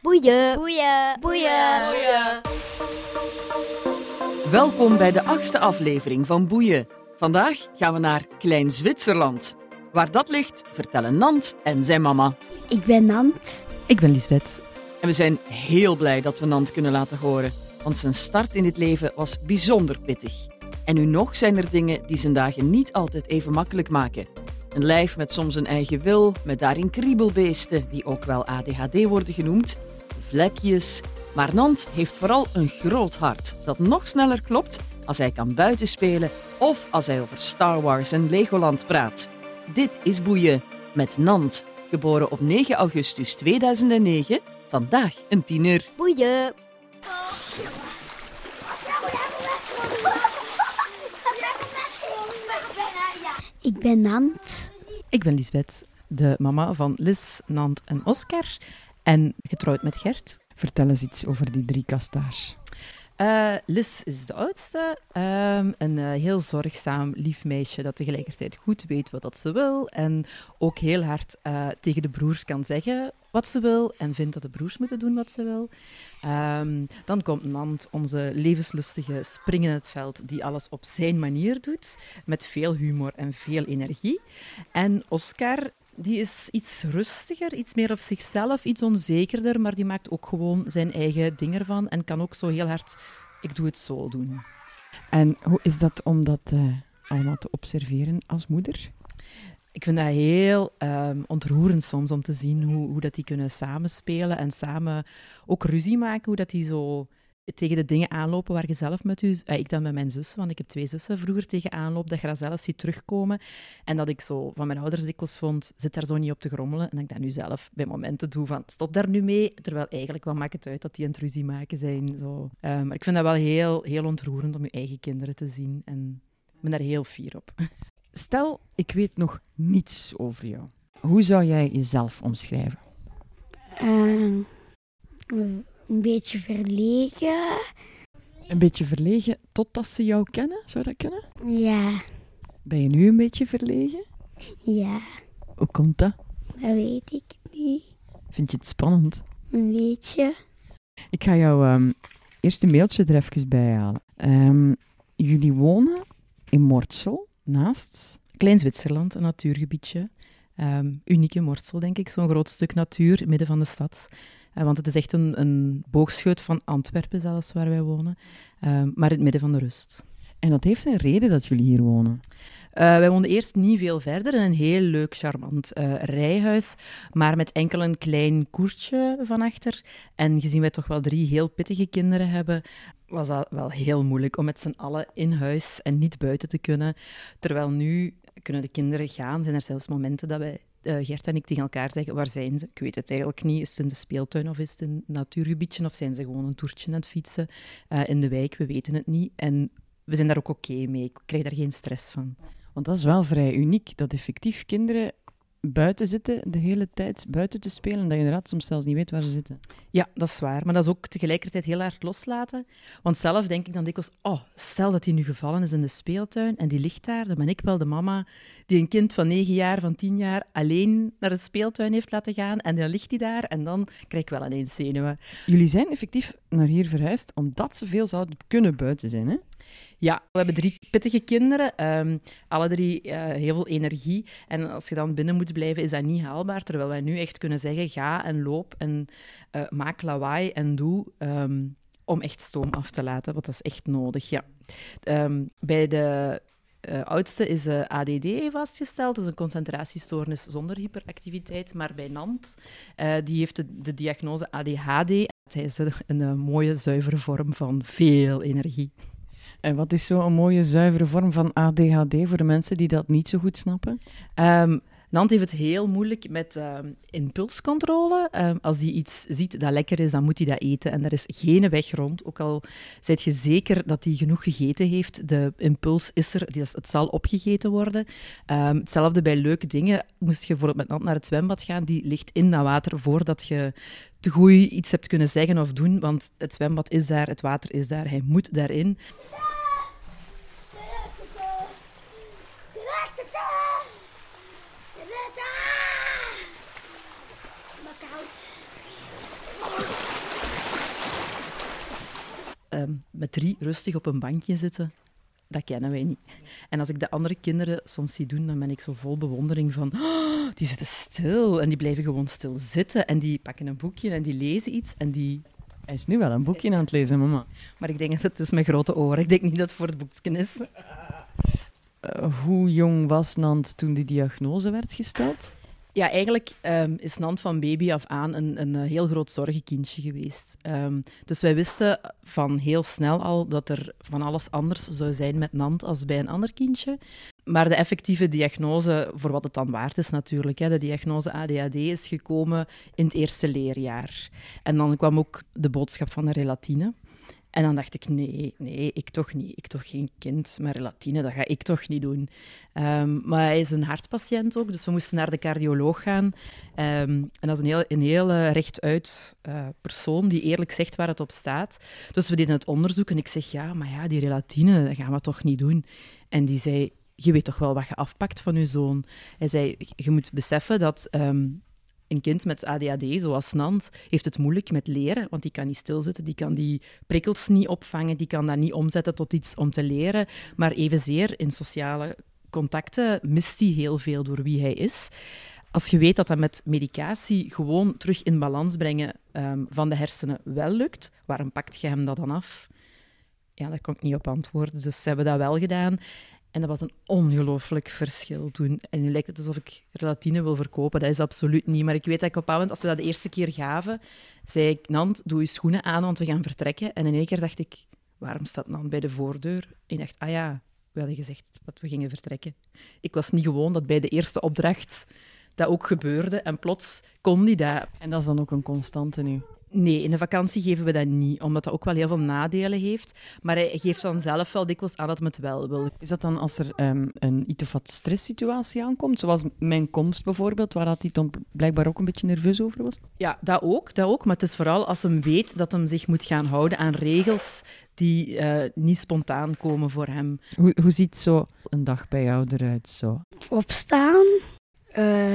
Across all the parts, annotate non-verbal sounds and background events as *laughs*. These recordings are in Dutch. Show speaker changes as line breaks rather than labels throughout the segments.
Boeien.
Boeien.
Boeien.
Welkom bij de achtste aflevering van Boeien. Vandaag gaan we naar Klein Zwitserland. Waar dat ligt, vertellen Nant en zijn mama.
Ik ben Nant.
Ik ben Lisbeth.
En we zijn heel blij dat we Nant kunnen laten horen, want zijn start in dit leven was bijzonder pittig. En nu nog zijn er dingen die zijn dagen niet altijd even makkelijk maken. Een lijf met soms een eigen wil, met daarin kriebelbeesten, die ook wel ADHD worden genoemd, vlekjes. Maar Nant heeft vooral een groot hart dat nog sneller klopt als hij kan buitenspelen of als hij over Star Wars en Legoland praat. Dit is Boeien met Nant, geboren op 9 augustus 2009, vandaag een tiener.
Boeien. Ik ben Nant.
Ik ben Lisbeth, de mama van Lis, Nant en Oscar. En getrouwd met Gert.
Vertel eens iets over die drie kastaars.
Eh, Lis is de oudste. ehm, een eh, heel zorgzaam, lief meisje dat tegelijkertijd goed weet wat dat ze wil. En ook heel hard eh, tegen de broers kan zeggen wat ze wil. En vindt dat de broers moeten doen wat ze wil. Ehm, dan komt Nant, onze levenslustige spring in het veld, die alles op zijn manier doet. Met veel humor en veel energie. En Oscar, die is iets rustiger, iets meer op zichzelf, iets onzekerder, maar die maakt ook gewoon zijn eigen ding ervan en kan ook zo heel hard ik doe het zo doen.
En hoe is dat om dat eh, allemaal te observeren als moeder?
Ik vind dat heel ehm, ontroerend soms om te zien hoe, hoe dat die kunnen samenspelen en samen ook ruzie maken. Hoe dat die zo tegen de dingen aanlopen waar je zelf met u... eh, ik dan met mijn zussen, want ik heb twee zussen vroeger tegen aanloop. Dat je dat zelf ziet terugkomen. En dat ik zo van mijn ouders dikwijls vond, zit daar zo niet op te grommelen. En dat ik dat nu zelf bij momenten doe van, stop daar nu mee. Terwijl eigenlijk, wat maakt het uit dat die aan het ruzie maken zijn. Zo. Ehm, maar ik vind dat wel heel, heel ontroerend om je eigen kinderen te zien. En ik ben daar heel fier op.
Stel, ik weet nog niets over jou. Hoe zou jij jezelf omschrijven?
Eh, een beetje verlegen.
Een beetje verlegen totdat ze jou kennen? Zou dat kunnen?
Ja,
Ben je nu een beetje verlegen?
ja,
Hoe komt dat?
dat weet ik niet.
Vind je het spannend?
Een beetje.
Ik ga jouw ehm, eerste mailtje er even bij halen. Ehm, jullie wonen in Mortsel, naast...
Klein Zwitserland, een natuurgebiedje. Ehm, unieke morsel, denk ik. Zo'n groot stuk natuur, in het midden van de stad. Eh, want het is echt een, een boogscheut van Antwerpen zelfs, waar wij wonen. Ehm, maar in het midden van de rust.
En dat heeft een reden dat jullie hier wonen.
Eh, wij woonden eerst niet veel verder in een heel leuk, charmant eh, rijhuis, maar met enkel een klein koertje van achter. En gezien wij toch wel drie heel pittige kinderen hebben, was dat wel heel moeilijk om met z'n allen in huis en niet buiten te kunnen. Terwijl nu kunnen de kinderen gaan, zijn er zelfs momenten dat wij. eh, Gert en ik tegen elkaar zeggen, waar zijn ze? Ik weet het eigenlijk niet. Is het in de speeltuin of is het in een natuurgebiedje? Of zijn ze gewoon een toertje aan het fietsen eh, in de wijk? We weten het niet. En we zijn daar ook oké mee. Ik krijg daar geen stress van.
Want dat is wel vrij uniek, dat effectief kinderen buiten zitten, de hele tijd buiten te spelen, en dat je inderdaad soms zelfs niet weet waar ze zitten.
Ja, dat is waar. Maar dat is ook tegelijkertijd heel hard loslaten. Want zelf denk ik dan dikwijls... Oh, stel dat die nu gevallen is in de speeltuin en die ligt daar. Dan ben ik wel de mama die een kind van 9 jaar, van 10 jaar... alleen naar de speeltuin heeft laten gaan. En dan ligt die daar en dan krijg ik wel ineens zenuwen.
Jullie zijn effectief naar hier verhuisd, omdat ze veel zouden kunnen buiten zijn, hè?
Ja, we hebben drie pittige kinderen. ehm, alle drie eh, heel veel energie. En als je dan binnen moet blijven, is dat niet haalbaar. Terwijl wij nu echt kunnen zeggen, ga en loop en eh, maak lawaai en doe... ehm, om echt stoom af te laten, want dat is echt nodig, ja. Ehm, bij de eh, oudste is eh, ADD vastgesteld, dus een concentratiestoornis zonder hyperactiviteit. Maar bij Nant, eh, die heeft de, de diagnose ADHD. Hij is een, een eh, mooie, zuivere vorm van veel energie.
En wat is zo'n mooie, zuivere vorm van ADHD voor de mensen die dat niet zo goed snappen?
Ehm Nant heeft het heel moeilijk met ehm, impulscontrole. Ehm, als hij iets ziet dat lekker is, dan moet hij dat eten. En er is geen weg rond. Ook al zijt je zeker dat hij genoeg gegeten heeft, de impuls is er, die is- het zal opgegeten worden. Ehm, hetzelfde bij leuke dingen. Moest je bijvoorbeeld met Nant naar het zwembad gaan, die ligt in dat water voordat je te goed iets hebt kunnen zeggen of doen. Want het zwembad is daar, het water is daar, hij moet daarin.
Makoud.
ehm, met drie rustig op een bankje zitten, dat kennen wij niet. En als ik de andere kinderen soms zie doen, dan ben ik zo vol bewondering van... "Oh, die zitten stil en die blijven gewoon stil zitten. En die pakken een boekje en die lezen iets en die
Hij is nu wel een boekje aan het lezen, mama.
maar ik denk dat het is mijn grote oren. Ik denk niet dat het voor het boekje is.
Eh, hoe jong was Nant toen die diagnose werd gesteld?
Ja, eigenlijk ehm, is Nant van baby af aan een, een eh, heel groot zorgenkindje geweest. Ehm, dus wij wisten van heel snel al dat er van alles anders zou zijn met Nant als bij een ander kindje. Maar de effectieve diagnose, voor wat het dan waard is natuurlijk, hè, de diagnose ADHD is gekomen in het eerste leerjaar. En dan kwam ook de boodschap van de relatine. En dan dacht ik, nee, nee, ik toch niet. Ik toch geen kind met relatine, dat ga ik toch niet doen. Ehm, maar hij is een hartpatiënt ook, dus we moesten naar de cardioloog gaan. Ehm, en dat is een heel, een heel eh, rechtuit eh, persoon die eerlijk zegt waar het op staat. Dus we deden het onderzoek en ik zeg, ja, maar ja, die relatine, dat gaan we toch niet doen. En die zei, je weet toch wel wat je afpakt van je zoon? Hij zei, je moet beseffen dat... ehm, een kind met ADHD, zoals Nant, heeft het moeilijk met leren, want die kan niet stilzitten, die kan die prikkels niet opvangen, die kan dat niet omzetten tot iets om te leren. Maar evenzeer in sociale contacten mist hij heel veel door wie hij is. Als je weet dat dat met medicatie gewoon terug in balans brengen ehm, van de hersenen wel lukt, waarom pakt je hem dat dan af? Ja, daar kon ik niet op antwoorden, dus ze hebben dat wel gedaan. En dat was een ongelooflijk verschil toen. En nu lijkt het alsof ik relatine wil verkopen. Dat is absoluut niet. Maar ik weet dat ik op een bepaald moment, als we dat de eerste keer gaven, zei ik, Nant, doe je schoenen aan, want we gaan vertrekken. En in één keer dacht ik, waarom staat Nant bij de voordeur? En ik dacht, ah ja, we hadden gezegd dat we gingen vertrekken. Ik was niet gewoon dat bij de eerste opdracht dat ook gebeurde. En plots kon die dat.
En dat is dan ook een constante nu.
Nee, in de vakantie geven we dat niet, omdat dat ook wel heel veel nadelen heeft. Maar hij geeft dan zelf wel dikwijls aan dat hij het wel wil.
Is dat dan als er ehm, een iets of wat stresssituatie aankomt? Zoals mijn komst bijvoorbeeld, waar dat hij dan blijkbaar ook een beetje nerveus over was?
Ja, dat ook, dat ook. Maar het is vooral als hem weet dat hem zich moet gaan houden aan regels die eh, niet spontaan komen voor hem.
Hoe, hoe ziet zo een dag bij jou eruit? Zo?
Opstaan. eh,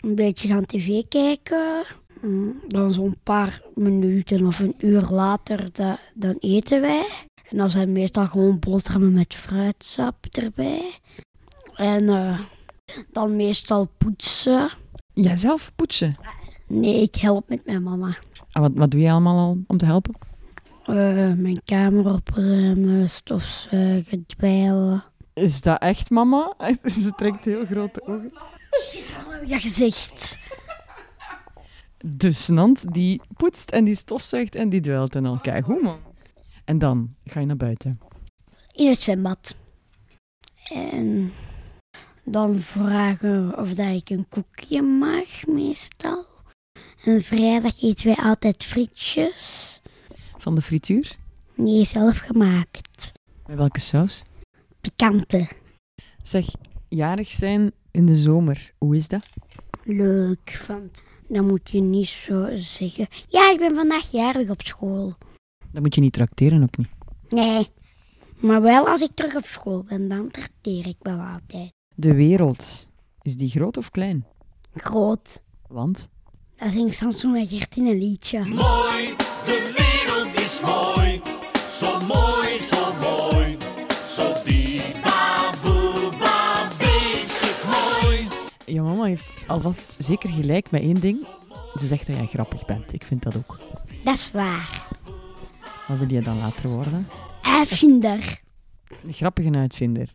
een beetje gaan tv kijken. Mm, Dan zo'n paar minuten of een uur later, da- dan eten wij. En dan zijn meestal gewoon boterhammen met fruitsap erbij. En eh, dan meestal poetsen.
Jijzelf poetsen.
Nee, ik help met mijn mama.
Ah, wat, wat doe je allemaal al om te helpen?
Eh, mijn kamer opruimen, stofzuigen, dweilen.
Is dat echt mama? *laughs* Ze trekt heel grote ogen.
Waarom heb ik dat gezegd?
Dus Nant, die poetst en die stofzuigt en die dweilt en al. Kijk, hoe man. En dan ga je naar buiten.
In het zwembad. En dan vragen of dat ik een koekje mag, meestal. En vrijdag eten wij altijd frietjes.
Van de frituur?
Nee, zelf gemaakt.
Met welke saus?
Pikante.
Zeg, jarig zijn in de zomer. Hoe is dat?
Leuk, want dan moet je niet zo zeggen... Ja, ik ben vandaag jarig op school.
Dan moet je niet tracteren ook niet.
Nee, maar wel als ik terug op school ben, dan trakteer ik wel altijd.
De wereld. Is die groot of klein?
Groot.
Want?
Dat zingt Samson en Gert in een liedje.
Mooi, de wereld is mooi. Zo mooi, zo mooi. Zo bibaboebabeestig mooi.
Je mama heeft alvast zeker gelijk met één ding. Ze zegt dat jij grappig bent. Ik vind dat ook.
Dat is waar.
Wat wil je dan later worden?
Uitvinder.
Een grappige uitvinder.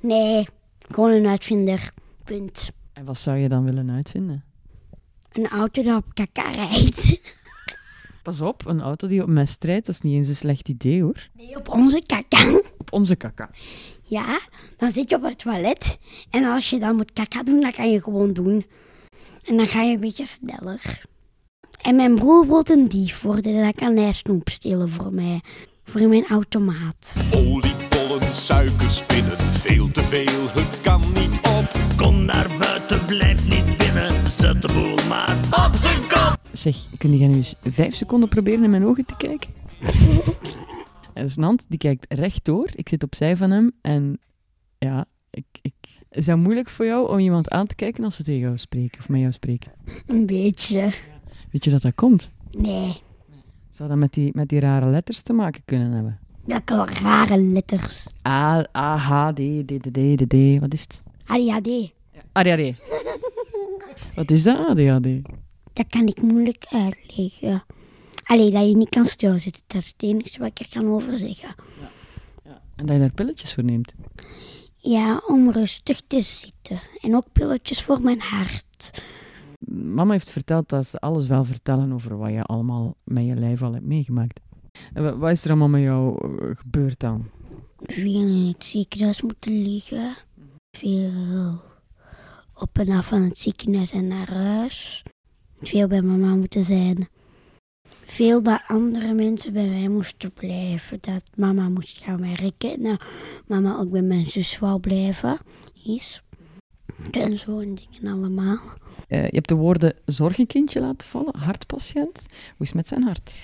Nee, gewoon een uitvinder. Punt.
En wat zou je dan willen uitvinden?
Een auto die op kaka rijdt. *laughs*
Pas op, een auto die op mij strijdt, dat is niet eens een slecht idee hoor.
Nee, op onze kaka. *laughs*
Op onze kaka.
Ja, dan zit je op het toilet. En als je dan moet kaka doen, dan kan je gewoon doen. En dan ga je een beetje sneller. En mijn broer wil een dief worden. Dan kan hij snoep stelen voor mij. Voor mijn automaat.
Oliebollen, suikerspinnen, veel te veel, het kan niet op. Kom naar buiten, blijf niet binnen, zet de boel maar op zijn kop.
Zeg, kun je nu eens vijf seconden proberen in mijn ogen te *laughs* kijken? en Snant, die kijkt rechtdoor. Ik zit opzij van hem en ja, ik, ik... Is dat moeilijk voor jou om iemand aan te kijken als ze tegen jou spreken of met jou spreken?
Een beetje.
Weet je dat dat komt?
Nee.
Zou dat met die, met die rare letters te maken kunnen hebben?
Welke rare letters.
A, A, H, D, D, D, D, D, D. Wat is het?
ADHD.
*laughs* ADHD. Wat is dat, ADHD?
Dat kan ik moeilijk uitleggen. Allee, dat je niet kan stilzitten. Dat is het enige wat ik er kan over zeggen.
En dat je daar pilletjes voor neemt.
Ja, om rustig te zitten. En ook pilletjes voor mijn hart.
Mama heeft verteld dat ze alles wel vertellen over wat je allemaal met je lijf al hebt meegemaakt. En wa- wat is er allemaal met jou eh, gebeurd dan?
Veel in het ziekenhuis moeten liggen. Veel op en af van het ziekenhuis en naar huis. Veel bij mama moeten zijn. Veel dat andere mensen bij mij moesten blijven. Dat mama moest gaan werken. En dat mama ook bij mijn zus wou blijven. Is. En zo'n dingen allemaal.
Eh, je hebt de woorden zorgenkindje laten vallen, hartpatiënt. Hoe is het met zijn hart?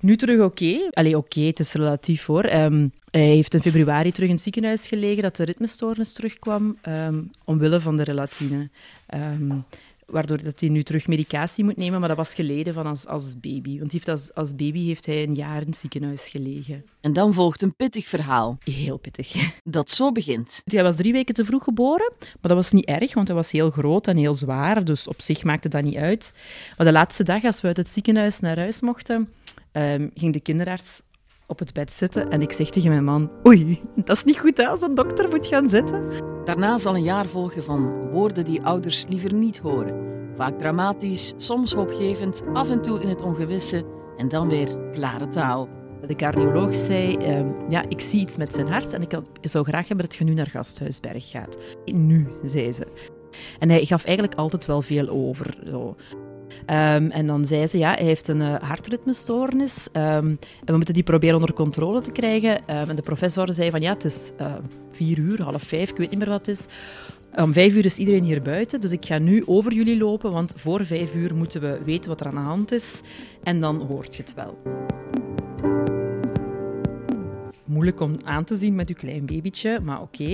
Nu terug oké. Allee, oké, het is relatief hoor. Ehm, hij heeft in februari terug in het ziekenhuis gelegen dat de ritmestoornis terugkwam, ehm, omwille van de relatine. Ehm, waardoor dat hij nu terug medicatie moet nemen, maar dat was geleden van als, als baby. Want hij heeft als, als baby heeft hij een jaar in het ziekenhuis gelegen.
En dan volgt een pittig verhaal
Heel pittig.
dat zo begint.
Hij was drie weken te vroeg geboren, maar dat was niet erg, want hij was heel groot en heel zwaar, dus op zich maakte dat niet uit. Maar de laatste dag, als we uit het ziekenhuis naar huis mochten, ehm, ging de kinderarts op het bed zitten en ik zeg tegen mijn man, oei, dat is niet goed hè, als een dokter moet gaan zitten.
Daarna zal een jaar volgen van woorden die ouders liever niet horen. Vaak dramatisch, soms hoopgevend, af en toe in het ongewisse en dan weer klare taal.
De cardioloog zei, ehm, ja, ik zie iets met zijn hart en ik had- zou graag hebben dat je nu naar Gasthuisberg gaat. Nu, zei ze. En hij gaf eigenlijk altijd wel veel over. Zo. Ehm, en dan zei ze, ja, hij heeft een eh, hartritmestoornis ehm, en we moeten die proberen onder controle te krijgen. Ehm, en de professor zei van, ja, het is eh, vier uur, half vijf, ik weet niet meer wat het is. Om vijf uur is iedereen hier buiten, dus ik ga nu over jullie lopen, want voor vijf uur moeten we weten wat er aan de hand is en dan hoort je het wel moeilijk om aan te zien met uw klein babytje, maar oké.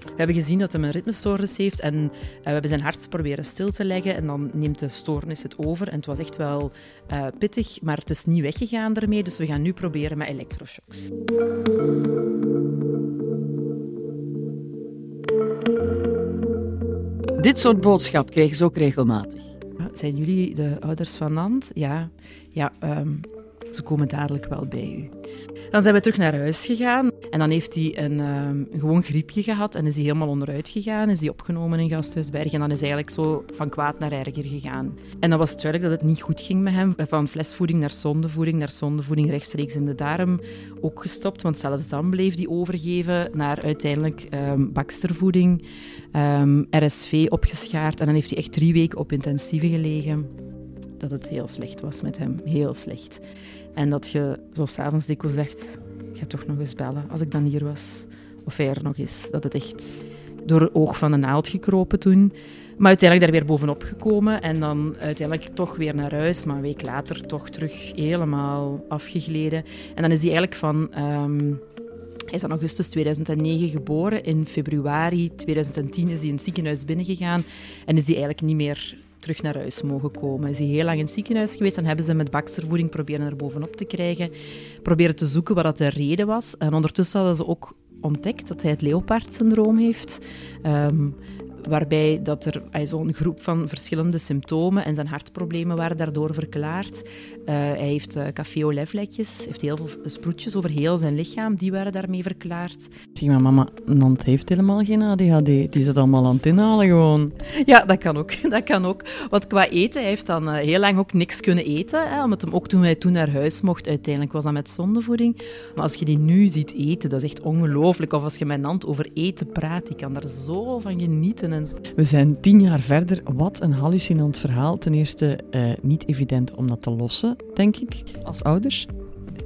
We hebben gezien dat hij een ritmestoornis heeft en eh, we hebben zijn hart proberen stil te leggen en dan neemt de stoornis het over. En het was echt wel eh, pittig, maar het is niet weggegaan daarmee, dus we gaan nu proberen met elektroshocks.
Dit soort boodschap kregen ze ook regelmatig.
Ja, Zijn jullie de ouders van Nant? Ja, ja ehm, ze komen dadelijk wel bij u. Dan zijn we terug naar huis gegaan en dan heeft hij een ehm, een gewoon griepje gehad en is hij helemaal onderuit gegaan. Is hij opgenomen in Gasthuisberg en dan is hij eigenlijk zo van kwaad naar erger gegaan. En dan was het duidelijk dat het niet goed ging met hem. Eh, Van flesvoeding naar zondevoeding, naar zondevoeding rechtstreeks in de darm. Ook gestopt, want zelfs dan bleef hij overgeven naar uiteindelijk ehm, bakstervoeding. Ehm, RSV opgeschaard en dan heeft hij echt drie weken op intensieve gelegen. Dat het heel slecht was met hem, heel slecht. En dat je zo s'avonds dikwijls dacht, ik ga toch nog eens bellen als ik dan hier was. Of hij er nog is. Dat het echt door het oog van de naald gekropen toen. Maar uiteindelijk daar weer bovenop gekomen en dan uiteindelijk toch weer naar huis. Maar een week later toch terug helemaal afgegleden. En dan is hij eigenlijk van... ehm, hij is in augustus 2009 geboren. In februari 2010 is hij in het ziekenhuis binnengegaan en is hij eigenlijk niet meer terug naar huis mogen komen. Is hij heel lang in het ziekenhuis geweest en hebben ze hem met bakstervoeding proberen er bovenop te krijgen. Proberen te zoeken wat dat de reden was. En ondertussen hadden ze ook ontdekt dat hij het Leopard-syndroom heeft. Ehm, waarbij dat er hij zo'n groep van verschillende symptomen en zijn hartproblemen waren daardoor verklaard. Eh, hij heeft eh café au lait vlekjes, heeft heel veel sproetjes over heel zijn lichaam, die waren daarmee verklaard.
Zeg maar, mama, Nant heeft helemaal geen ADHD. Die is het allemaal aan het inhalen gewoon.
*laughs* Ja, dat kan ook. Dat kan ook. Want qua eten, hij heeft dan eh, heel lang ook niks kunnen eten. Hè, omdat hem ook toen wij toen naar huis mocht, uiteindelijk was dat met zondevoeding. Maar als je die nu ziet eten, dat is echt ongelooflijk. Of als je met Nant over eten praat, die kan daar zo van genieten. En zo.
We zijn tien jaar verder. Wat een hallucinant verhaal. Ten eerste eh, niet evident om dat te lossen, denk ik, als ouders.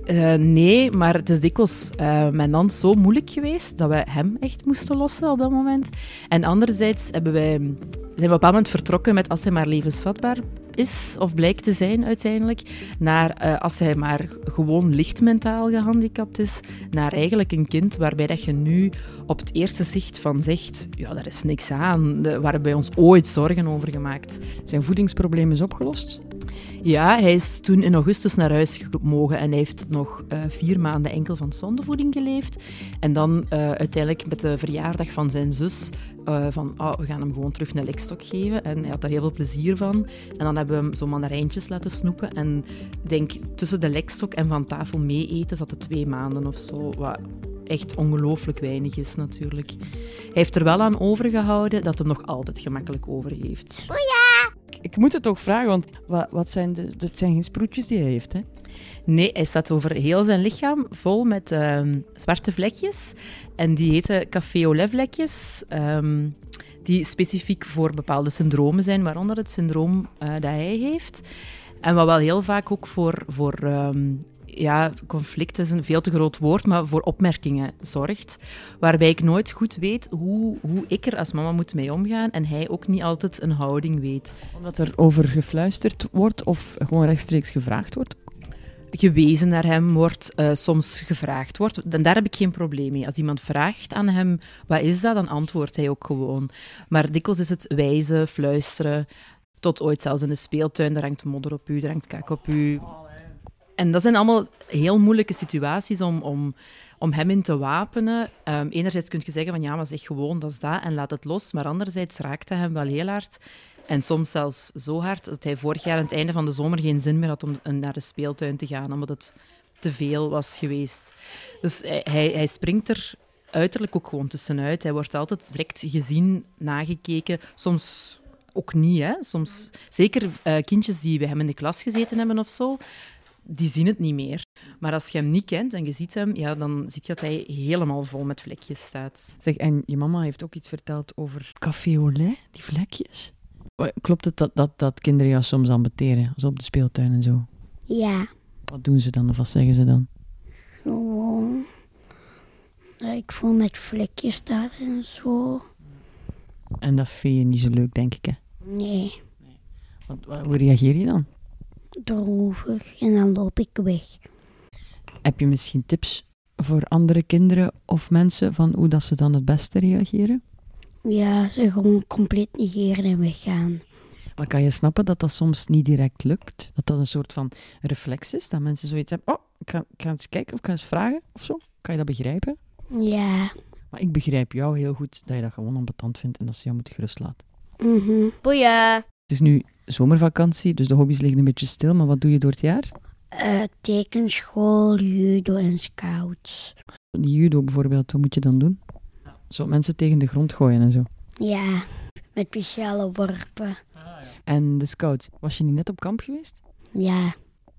Eh, nee, maar het is dikwijls eh met Nant zo moeilijk geweest dat we hem echt moesten lossen op dat moment. En anderzijds hebben wij, zijn we op een bepaald moment vertrokken met als hij maar levensvatbaar is, of blijkt te zijn uiteindelijk, naar eh, als hij maar gewoon licht mentaal gehandicapt is, naar eigenlijk een kind waarbij dat je nu op het eerste zicht van zegt, ja, daar is niks aan, de- waar we ons ooit zorgen over gemaakt.
Zijn voedingsprobleem is opgelost.
Ja, hij is toen in augustus naar huis gemogen en hij heeft nog eh, vier maanden enkel van zondevoeding geleefd. En dan eh, uiteindelijk met de verjaardag van zijn zus eh, van ah, we gaan hem gewoon terug een lekstok geven. En hij had daar heel veel plezier van. En dan hebben we hem zo mandarijntjes laten snoepen. En ik denk tussen de lekstok en van tafel mee eten zat het twee maanden of zo. Wat echt ongelooflijk weinig is natuurlijk. Hij heeft er wel aan overgehouden dat hem nog altijd gemakkelijk overgeeft.
Ik, ik moet het toch vragen, want wat, wat zijn de, dat zijn geen sproetjes die hij heeft, hè?
Nee, hij staat over heel zijn lichaam vol met ehm, zwarte vlekjes. En die heten café au lait vlekjes, ehm, die specifiek voor bepaalde syndromen zijn, waaronder het syndroom eh, dat hij heeft. En wat wel heel vaak ook voor, voor ehm, ja, conflict is een veel te groot woord, maar voor opmerkingen zorgt. Waarbij ik nooit goed weet hoe, hoe ik er als mama moet mee omgaan en hij ook niet altijd een houding weet.
Omdat er over gefluisterd wordt of gewoon rechtstreeks gevraagd wordt.
gewezen naar hem wordt, eh, soms gevraagd wordt. En daar heb ik geen probleem mee. Als iemand vraagt aan hem, wat is dat? Dan antwoordt hij ook gewoon. Maar dikwijls is het wijzen, fluisteren, tot ooit zelfs in de speeltuin. Daar hangt modder op u, daar hangt kak op u. En dat zijn allemaal heel moeilijke situaties om, om, om hem in te wapenen. Ehm, enerzijds kun je zeggen van ja, maar zeg gewoon, dat is dat en laat het los. Maar anderzijds raakt hij hem wel heel hard. En soms zelfs zo hard dat hij vorig jaar aan het einde van de zomer geen zin meer had om eh, naar de speeltuin te gaan, omdat het te veel was geweest. Dus hij, hij, hij springt er uiterlijk ook gewoon tussenuit. Hij wordt altijd direct gezien, nagekeken. Soms ook niet, hè. Soms, zeker eh, kindjes die bij hem in de klas gezeten hebben of zo, die zien het niet meer. Maar als je hem niet kent en je ziet hem, ja, dan zie je dat hij helemaal vol met vlekjes staat.
Zeg, en je mama heeft ook iets verteld over café au lait, die vlekjes. Wa- Klopt het dat, dat, dat kinderen jou soms ambeteren, zo op de speeltuin en zo?
Ja,
Wat doen ze dan of wat zeggen ze dan?
gewoon. Ja, Ik voel met vlekjes daar en zo.
En dat vind je niet zo leuk, denk ik, hè?
Nee,
Want, wa- hoe reageer je dan?
droevig. En dan loop ik weg.
Heb je misschien tips voor andere kinderen of mensen van hoe dat ze dan het beste reageren?
Ja, ze gewoon compleet negeren en weggaan.
Maar kan je snappen dat dat soms niet direct lukt? Dat dat een soort van reflex is, dat mensen zoiets hebben, oh, ik ga, ik ga eens kijken of ik ga eens vragen of zo. Kan je dat begrijpen?
Ja,
Maar ik begrijp jou heel goed dat je dat gewoon onbetant vindt en dat ze jou moeten gerust laten.
mhm.
Boeien.
Het is nu zomervakantie, dus de hobby's liggen een beetje stil, maar wat doe je door het jaar?
Eh, tekenschool, judo en scouts.
Die judo bijvoorbeeld, wat moet je dan doen? Zo mensen tegen de grond gooien en zo.
Ja, met speciale worpen.
En de scouts, was je niet net op kamp geweest?
Ja,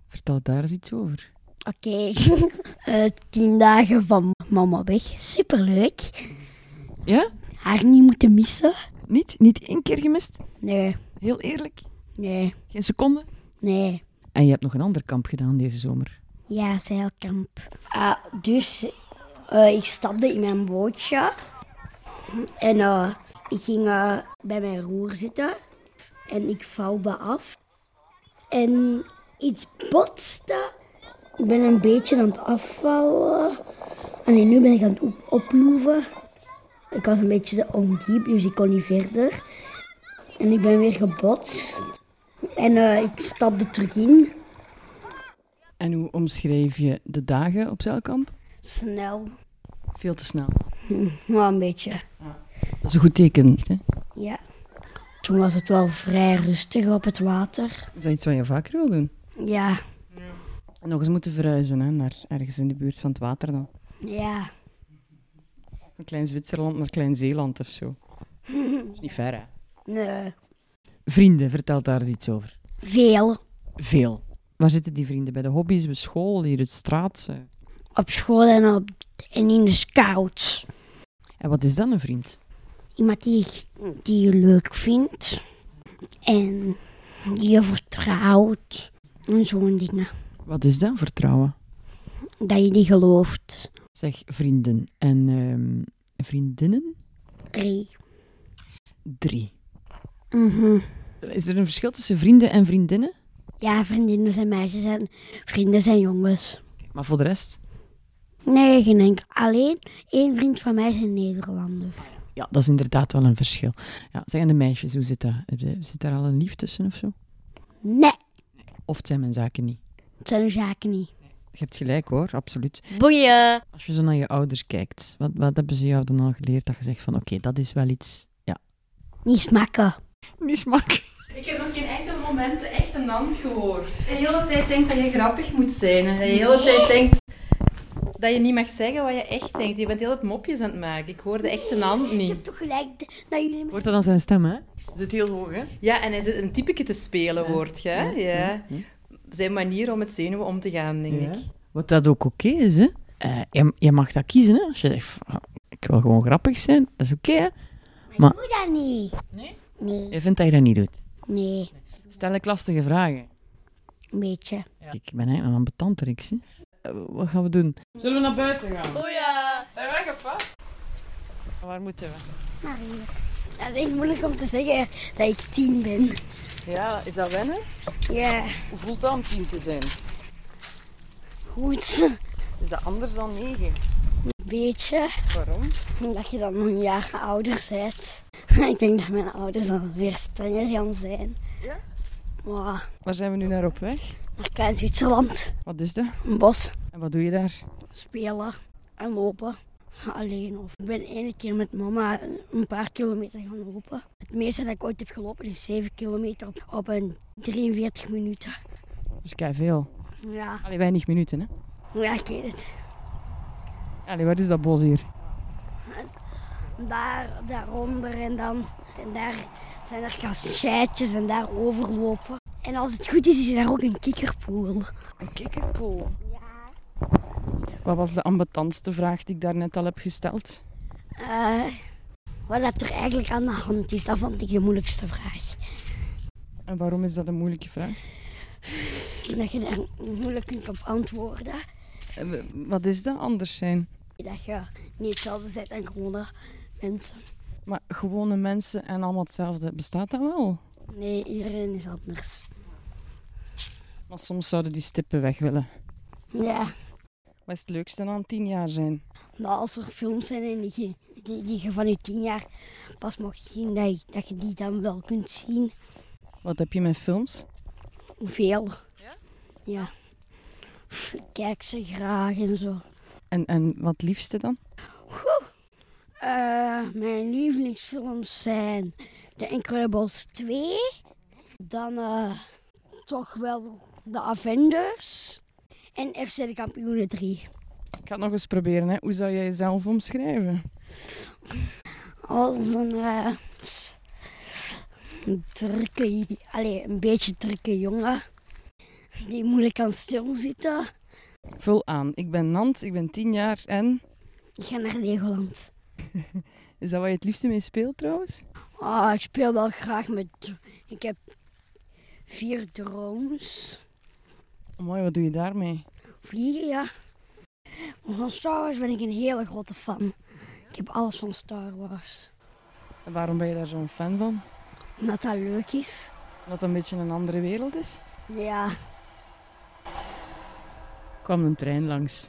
Vertel daar eens iets over.
oké. *laughs* Eh, tien dagen van mama weg. Superleuk.
Ja?
Haar niet moeten missen.
Niet, niet één keer gemist?
Nee,
Heel eerlijk?
nee,
Geen seconde?
nee.
En je hebt nog een ander kamp gedaan deze zomer.
Ja, zeilkamp. Ah, dus eh, ik stapte in mijn bootje. En eh, ik ging eh, bij mijn roer zitten. En ik valde af. En iets botste. Ik ben een beetje aan het afvallen. En nu ben ik aan het op oploeven. Ik was een beetje ondiep, dus ik kon niet verder. En ik ben weer gebotst. En eh, ik stapte terug in.
En hoe omschreef je de dagen op zeilkamp?
Snel.
Veel te snel.
Maar een beetje.
Dat is een goed teken. Hè?
Ja. Toen was het wel vrij rustig op het water.
Is dat iets wat je vaker wil doen?
Ja,
En nog eens moeten verhuizen hè, naar ergens in de buurt van het water dan.
ja.
Van Klein Zwitserland naar Klein Zeeland of zo. Dat is niet ver, hè?
Nee.
Vrienden, vertel daar eens iets over.
Veel.
Veel. Waar zitten die vrienden? Bij de hobby's, bij school, hier op straat? eh?
Op school en, op, en in de scouts.
En wat is dan een vriend?
Iemand die, die je leuk vindt. En die je vertrouwt. En zo'n dingen.
Wat is dan vertrouwen?
Dat je die gelooft.
Zeg vrienden en ehm, vriendinnen?
Drie.
Drie.
Mhm.
Is er een verschil tussen vrienden en vriendinnen?
Ja, vriendinnen zijn meisjes en vrienden zijn jongens.
Maar voor de rest?
Nee, geen enkel. Alleen één vriend van mij is een Nederlander.
Ja, dat is inderdaad wel een Eh, verschil. Ja, zeg, en de meisjes, hoe zit dat? Zit daar al een lief tussen of zo?
Nee.
Of het zijn mijn zaken niet.
Het zijn uw zaken niet.
Je hebt gelijk hoor, absoluut.
Boeien.
Als je zo naar je ouders kijkt, wat, wat hebben ze jou dan al geleerd dat je zegt van oké, dat is wel iets... Ja,
Niet smakken.
niet smaak.
Ik heb nog geen enkel moment echt een hand gehoord. De hele tijd denkt dat je grappig moet zijn. En de hele tijd denkt dat je niet mag zeggen wat je echt denkt. Je bent heel het mopjes aan het maken. Ik hoorde echt een hand
Ik
niet.
heb toch gelijk d- dat jullie me...
Hoort dat aan zijn stem, hè? Zit heel hoog, hè?
Ja, en hij zit een typeke te spelen, hoort je? hè? Ja. Zijn manier om met zenuwen om te gaan, denk
Ja.
ik.
Wat dat ook oké is, hè? Eh, je, je mag dat kiezen, hè? Als je zegt, van, ah, ik wil gewoon grappig zijn, dat is oké, hè?
Doe dat niet. Nee? Nee.
Je vindt dat je dat niet doet.
Nee.
Stel ik lastige vragen.
Een beetje.
Ik ben eigenlijk een ambetant, Rix, hè? Eh, Wat gaan we doen? Zullen we naar buiten gaan?
Boeien.
Waar moeten we?
Maar hier. Dat is echt moeilijk om te zeggen dat ik tien ben.
Ja, is dat wennen?
Ja,
Hoe voelt dat om tien te zijn?
goed. Een
Is dat anders dan negen?
beetje.
Waarom?
Omdat je dan een jaar ouder bent. *laughs* ik denk dat mijn ouders dan weer strenger gaan zijn. Ja? Maar
Waar zijn we nu naar op weg?
naar Klein Zwitserland.
Wat is dat?
Een bos.
En wat doe je daar?
Spelen. En lopen. Alleen of. Ik ben ene keer met mama een paar kilometer gaan lopen. Het meeste dat ik ooit heb gelopen is 7 kilometer op, op een 43 minuten.
Dus kei veel.
Ja,
Allee, weinig minuten, hè?
ja ik weet het.
Allee, wat is dat bos hier?
Daar, daaronder en dan. En daar zijn er kasseitjes en daar overlopen. En als het goed is, is daar ook een kikkerpoel.
Een kikkerpoel. Wat was de ambetantste vraag die ik daarnet al heb gesteld?
Eh, wat dat er eigenlijk aan de hand is, dat vond ik de moeilijkste vraag.
En waarom is dat een moeilijke vraag?
Dat je daar moeilijk kunt op antwoorden.
Eh, Wat is dat anders zijn?
Dat je niet hetzelfde bent dan gewone mensen.
Maar gewone mensen en allemaal hetzelfde, bestaat dat wel?
Nee, iedereen is anders.
Maar soms zouden die stippen weg willen.
Ja,
Wat is het leukste aan tien jaar zijn?
dat als er films zijn en die, je- die, die je van je tien jaar pas mag zien, dat je, dat je die dan wel kunt zien.
Wat heb je met films?
Hoeveel. Ja? Pff, Ik kijk ze graag en zo.
En, en wat liefste dan?
Eh, mijn lievelingsfilms zijn The Incredibles 2. Dan eh, toch wel The Avengers. En FC de Kampioenen 3.
Ik ga het nog eens proberen. Hè. Hoe zou jij jezelf omschrijven?
Als een, eh, een drukke, allee, een beetje drukke jongen. Die moeilijk kan stilzitten.
Vul aan. Ik ben Nant, ik ben tien jaar en...
Ik ga naar Legoland.
Is dat waar je het liefste mee speelt trouwens?
Ah, ik speel wel graag met... Ik heb vier drones.
Mooi, wat doe je daarmee?
Vliegen, ja. Maar van Star Wars ben ik een hele grote fan. Ik heb alles van Star Wars.
En waarom ben je daar zo'n fan van?
Omdat dat leuk is.
Omdat dat een beetje een andere wereld is?
Ja,
kwam een trein langs.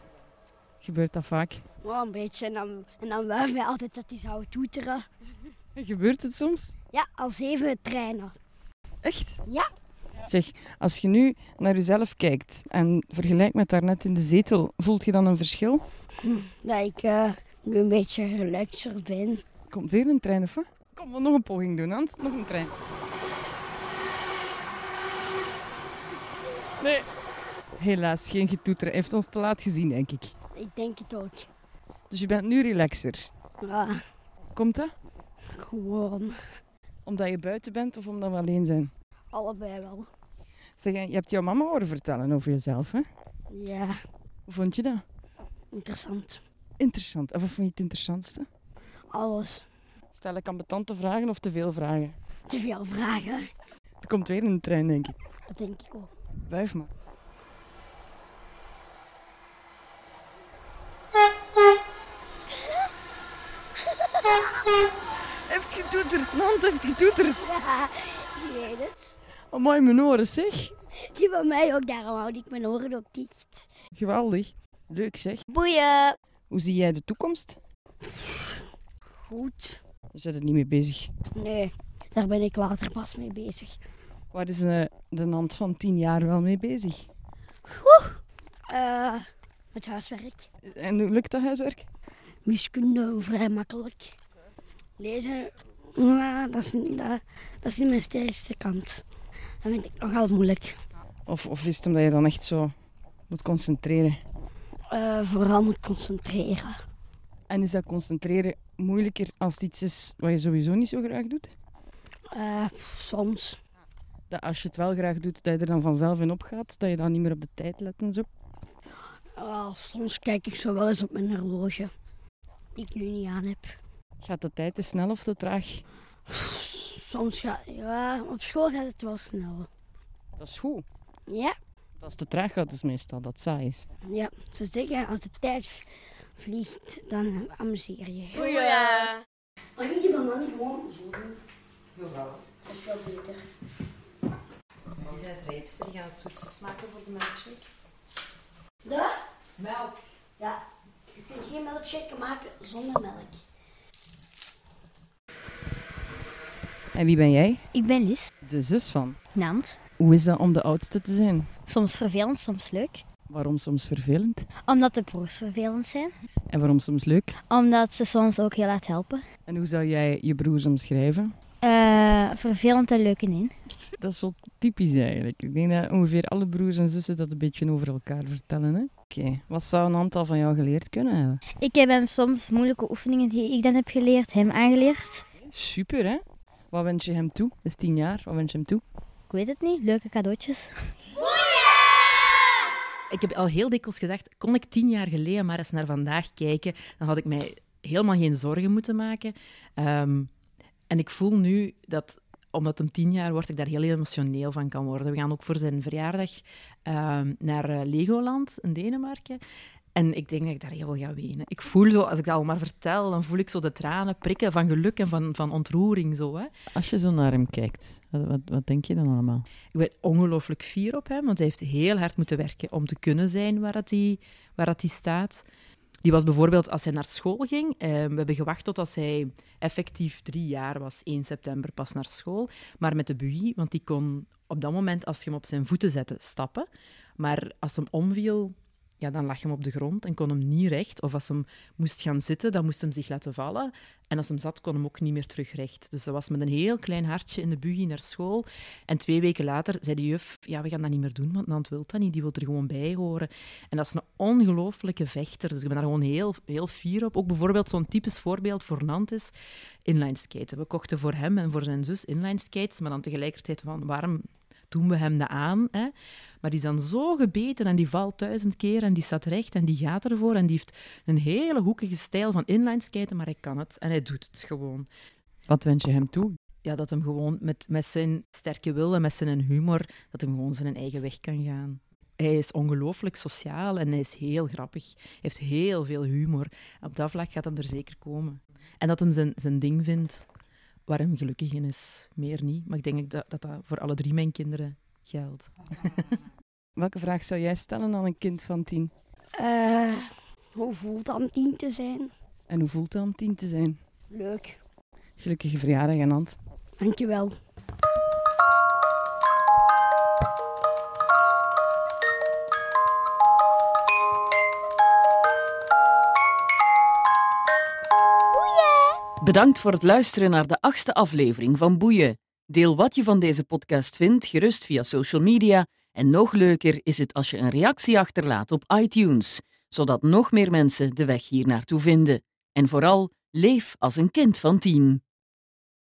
Gebeurt dat vaak?
wel een beetje. En dan, en dan wuiven wij altijd dat die zouden toeteren.
*laughs* Gebeurt het soms?
Ja, al zeven treinen.
Echt?
Ja.
Zeg, als je nu naar jezelf kijkt en vergelijkt met daarnet in de zetel, voelt je dan een verschil?
Dat ik eh, nu een beetje relaxer ben.
Komt weer een trein of wat? Kom, we nog een poging doen, Hans. Nog een trein. Nee. Helaas, geen getoeter. Hij heeft ons te laat gezien, denk ik.
Ik denk het ook.
Dus je bent nu relaxer.
Ja,
Komt dat?
gewoon.
Omdat je buiten bent of omdat we alleen zijn?
Allebei wel.
Zeg, en je hebt jouw mama horen vertellen over jezelf, hè?
Ja,
Hoe vond je dat?
interessant.
Interessant. En wat vond je het interessantste?
Alles.
Stel ik ambetante vragen of te veel vragen?
Te veel vragen.
Er komt weer een trein, denk ik.
Dat denk ik ook.
Wuif maar. Heeft getoeterd. Nant heeft getoeterd.
Ja, ik weet het.
Oh, mooi mijn oren, zeg.
Die van mij ook, daarom houd ik mijn oren ook dicht.
Geweldig. Leuk, zeg.
Boeien.
Hoe zie jij de toekomst?
Goed.
We zijn er niet mee bezig.
Nee, daar ben ik later pas mee bezig.
Waar is eh, de Nant van tien jaar wel mee bezig?
Eh, met huiswerk.
En hoe lukt dat huiswerk?
Wiskunde vrij makkelijk. Lezen, nou, dat, is, niet- dat, dat is niet mijn sterkste kant. Dat vind ik nogal moeilijk.
Of, of is het omdat je dan echt zo moet concentreren?
Eh, vooral moet concentreren.
En is dat concentreren moeilijker als het iets is wat je sowieso niet zo graag doet?
Eh, soms.
Dat als je het wel graag doet, dat je er dan vanzelf in opgaat, dat je dan niet meer op de tijd let en zo.
Ah, soms kijk ik zo wel eens op mijn horloge. Die ik nu niet aan heb.
Gaat de tijd te snel of te traag?
Soms gaat... Ja, op school gaat het wel snel.
Dat is goed.
Ja,
Als het te traag gaat, is meestal dat het saai is.
ja. Ze zeggen, als de tijd v- vliegt, dan amuseer je. Maar kun je dan dan niet gewoon zo doen? Dat is wel beter.
Die zijn het rijpste, die gaan het zoetjes maken voor de milkshake.
De?
Melk.
Ja. Je kunt geen melkshake maken zonder melk.
En wie ben jij?
Ik ben Liz,
De zus van.
Nant.
Hoe is dat om de oudste te zijn?
Soms vervelend, soms leuk.
Waarom soms vervelend?
Omdat de broers vervelend zijn.
En waarom soms leuk?
Omdat ze soms ook heel hard helpen.
En hoe zou jij je broers omschrijven?
Eh, vervelend en leuk in.
Dat is wel typisch eigenlijk. Ik denk dat ongeveer alle broers en zussen dat een beetje over elkaar vertellen. hè. Oké, wat zou een aantal van jou geleerd kunnen hebben?
Ik heb hem soms moeilijke oefeningen die ik dan heb geleerd, hem aangeleerd.
Super, hè? Wat wens je hem toe? Dat is tien jaar. Wat wens je hem toe?
Ik weet het niet, leuke cadeautjes.
Ik heb al heel dikwijls gedacht, kon ik tien jaar geleden maar eens naar vandaag kijken, dan had ik mij helemaal geen zorgen moeten maken. Ehm, en ik voel nu dat, omdat hem tien jaar wordt, ik daar heel emotioneel van kan worden. We gaan ook voor zijn verjaardag ehm, naar eh, Legoland in Denemarken. En ik denk dat ik daar heel veel ga wenen. Ik voel zo, als ik dat al maar vertel, dan voel ik zo de tranen prikken van geluk en van, van ontroering. Zo, hè.
Als je zo naar hem kijkt, wat, wat, wat denk je dan allemaal?
Ik ben ongelooflijk fier op hem, want hij heeft heel hard moeten werken om te kunnen zijn waar, dat hij, waar dat hij staat. Die was bijvoorbeeld als hij naar school ging. eh, we hebben gewacht tot als hij effectief drie jaar was, 1 september pas naar school. Maar met de buggy, want die kon op dat moment, als je hem op zijn voeten zette, stappen. Maar als hem omviel, ja, dan lag hem op de grond en kon hem niet recht. Of als hem moest gaan zitten, dan moest hem zich laten vallen. En als hem zat, kon hem ook niet meer terug recht. Dus dat was met een heel klein hartje in de buggy naar school. En twee weken later zei de juf, ja, we gaan dat niet meer doen, want Nant wil dat niet. Die wil er gewoon bij horen. En dat is een ongelofelijke vechter. Dus ik ben daar gewoon heel, heel fier op. Ook bijvoorbeeld zo'n typisch voorbeeld voor Nant is inline skaten. We kochten voor hem en voor zijn zus inline skates, maar dan tegelijkertijd van, waarom doen we hem dat aan? Hè? Maar die is dan zo gebeten en die valt duizend keer en die staat recht en die gaat ervoor en die heeft een hele hoekige stijl van inlineskaten, maar hij kan het en hij doet het gewoon.
Wat wens je hem toe?
Ja, dat hem gewoon met, met zijn sterke wil en met zijn humor, dat hem gewoon zijn eigen weg kan gaan. Hij is ongelooflijk sociaal en hij is heel grappig. Hij heeft heel veel humor. Op dat vlak gaat hem er zeker komen. En dat hem zijn, zijn ding vindt waar hem gelukkig in is. Meer niet. Maar ik denk dat dat, dat voor alle drie mijn kinderen geldt.
Welke vraag zou jij stellen aan een kind van tien?
Eh, hoe voelt het om tien te zijn?
En hoe voelt het om tien te zijn?
Leuk.
Gelukkige verjaardag, Anand.
Dankjewel.
Bedankt voor het luisteren naar de achtste aflevering van Boeien. Deel wat je van deze podcast vindt gerust via social media. En nog leuker is het als je een reactie achterlaat op iTunes, zodat nog meer mensen de weg hier naartoe vinden. En vooral, leef als een kind van tien.